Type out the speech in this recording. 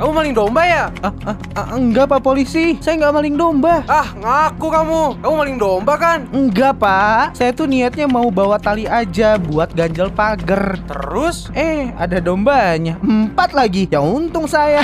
Kamu maling domba ya? Ah, ah, ah, enggak Pak Polisi, saya nggak maling domba. Ah, ngaku kamu. Kamu maling domba kan? Enggak Pak, saya tuh niatnya mau bawa tali aja buat ganjel pagar. Terus? Eh, ada dombanya. Empat lagi. Ya untung saya.